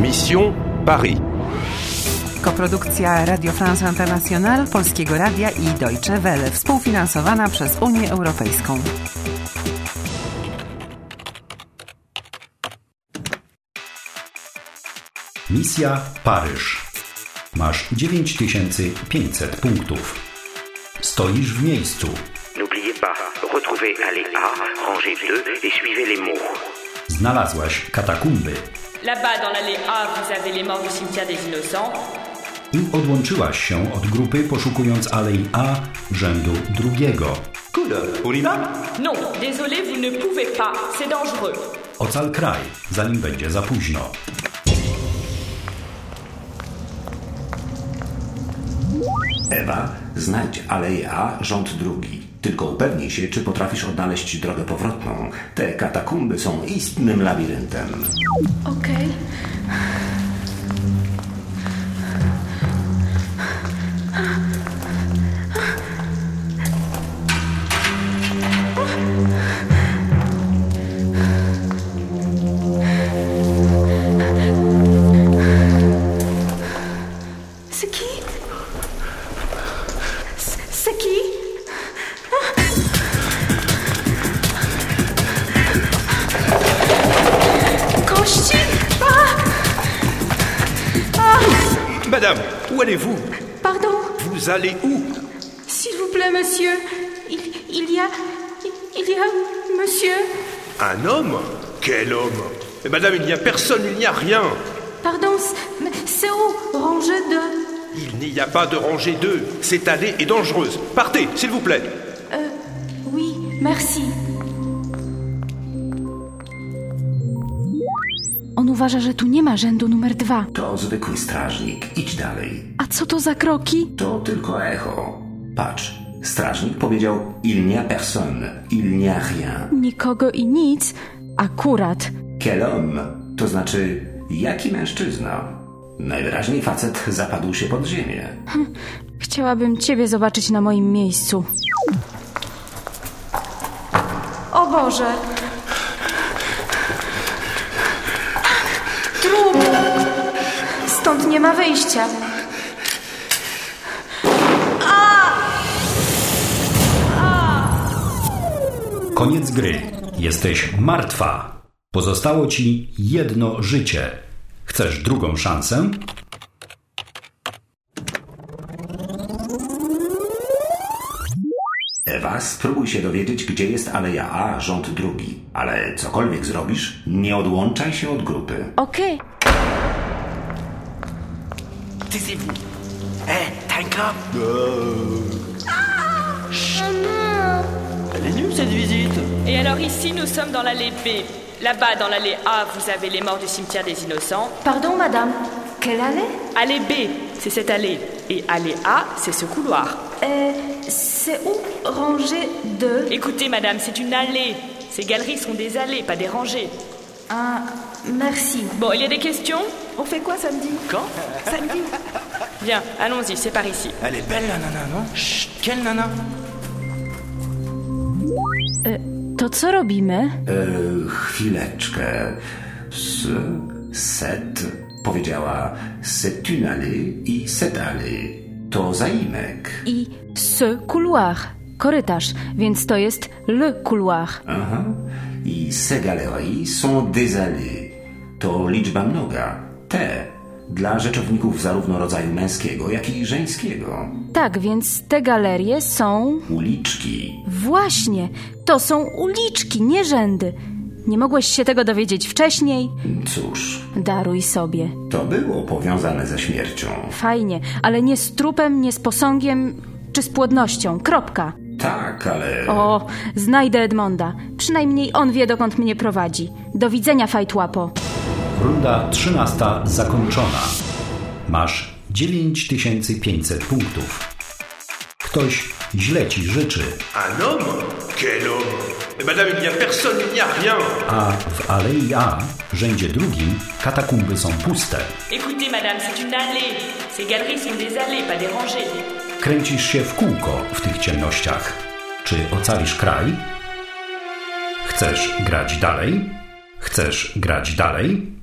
Mission Paris. Koprodukcja Radio France International, Polskiego Radia i Deutsche Welle, współfinansowana przez Unię Europejską. Misja Paryż. Masz 9500 punktów. Stoisz w miejscu. N'oubliez pas, retrouvez allée A, rangée 2 et suivez les mots. Znalazłaś katakumby Là-bas, dans l'allée A, vous avez les morts du cimetière des innocents. i odłączyłaś się od grupy poszukując alei A rzędu drugiego. Non, désolé, vous ne pouvez pas, c'est dangereux. Ocal kraj, zanim będzie za późno. Ewa, znajdź aleję A, rząd drugi. Tylko upewnij się, czy potrafisz odnaleźć drogę powrotną. Te katakumby są istnym labiryntem. Okej. C'est qui C'est- C'est qui Kości? Ah Madame, où allez-vous Pardon Vous allez où S'il vous plaît, monsieur. Il, il y a. Il y a. Monsieur. Un homme Quel homme Eh, Madame, il n'y a personne, il n'y a rien. Pardon, c- mais c'est où Range de. Il n'y a pas de rangée 2. Cette allée est dangereuse. Partez, s'il vous plaît. Euh, oui, merci. On uważa, że tu nie ma rzędu numer dwa. To zwykły strażnik. Idź dalej. A co to za kroki? To tylko echo. Patrz, strażnik powiedział il n'y a personne, il n'y a rien. Nikogo i nic. Akurat. Quel homme? To znaczy, jaki mężczyzna? Najwyraźniej facet zapadł się pod ziemię. Chciałabym ciebie zobaczyć na moim miejscu. O Boże! Trup! Stąd nie ma wyjścia. Koniec gry. Jesteś martwa. Pozostało ci jedno życie. Chcesz drugą szansę? Ewa, spróbuj się dowiedzieć, gdzie jest Aleja A, rząd drugi. Ale cokolwiek zrobisz, nie odłączaj się od grupy. Okej. Taisez-vous. Hé, t'as un cop Elle est nulle cette visite. Et alors ici, nous sommes dans l'allée B. Là-bas, dans l'allée A, vous avez les morts du cimetière des innocents. Pardon, madame. Quelle allée Allée B, c'est cette allée. Et allée A, c'est ce couloir. E, Euh, C'est où Ranger de. Écoutez, madame, c'est une allée. Ces galeries sont des allées, pas des rangées. Ah, merci. Bon, il y a des questions On fait quoi samedi Quand Samedi Bien, allons-y, c'est par ici. Elle est belle la nana, non Chut, quelle nana To co robimy? Eee, chwileczkę. S, set powiedziała c'est une allée i cette allée. To zaimek. I ce couloir. Korytarz, więc to jest le couloir. Aha. I se galerie są des allées. To liczba mnoga. Te. Dla rzeczowników zarówno rodzaju męskiego, jak i żeńskiego. Tak, więc te galerie są. Uliczki. Właśnie, to są uliczki, nie rzędy. Nie mogłeś się tego dowiedzieć wcześniej? Cóż, Daruj sobie. to było powiązane ze śmiercią. Fajnie, ale nie z trupem, nie z posągiem, czy z płodnością. Kropka. Tak, ale. O, znajdę Edmonda. Przynajmniej on wie, dokąd mnie prowadzi. Do widzenia, fajtłapo. Runda 13 zakończona. Masz 9500 punktów. Ktoś źle ci życzy, Un homme Quel homme Eh, Madame, il n'y a personne, il n'y a rien. a w Alei A, rzędzie drugim, katakumby sont puste. Écoutez, madame, c'est une allée. Ces galeries sont des allées, pas des rangées. Kręcisz się w kółko w tych ciemnościach. Czy ocalisz kraj? Chcesz grać dalej? Chcesz grać dalej?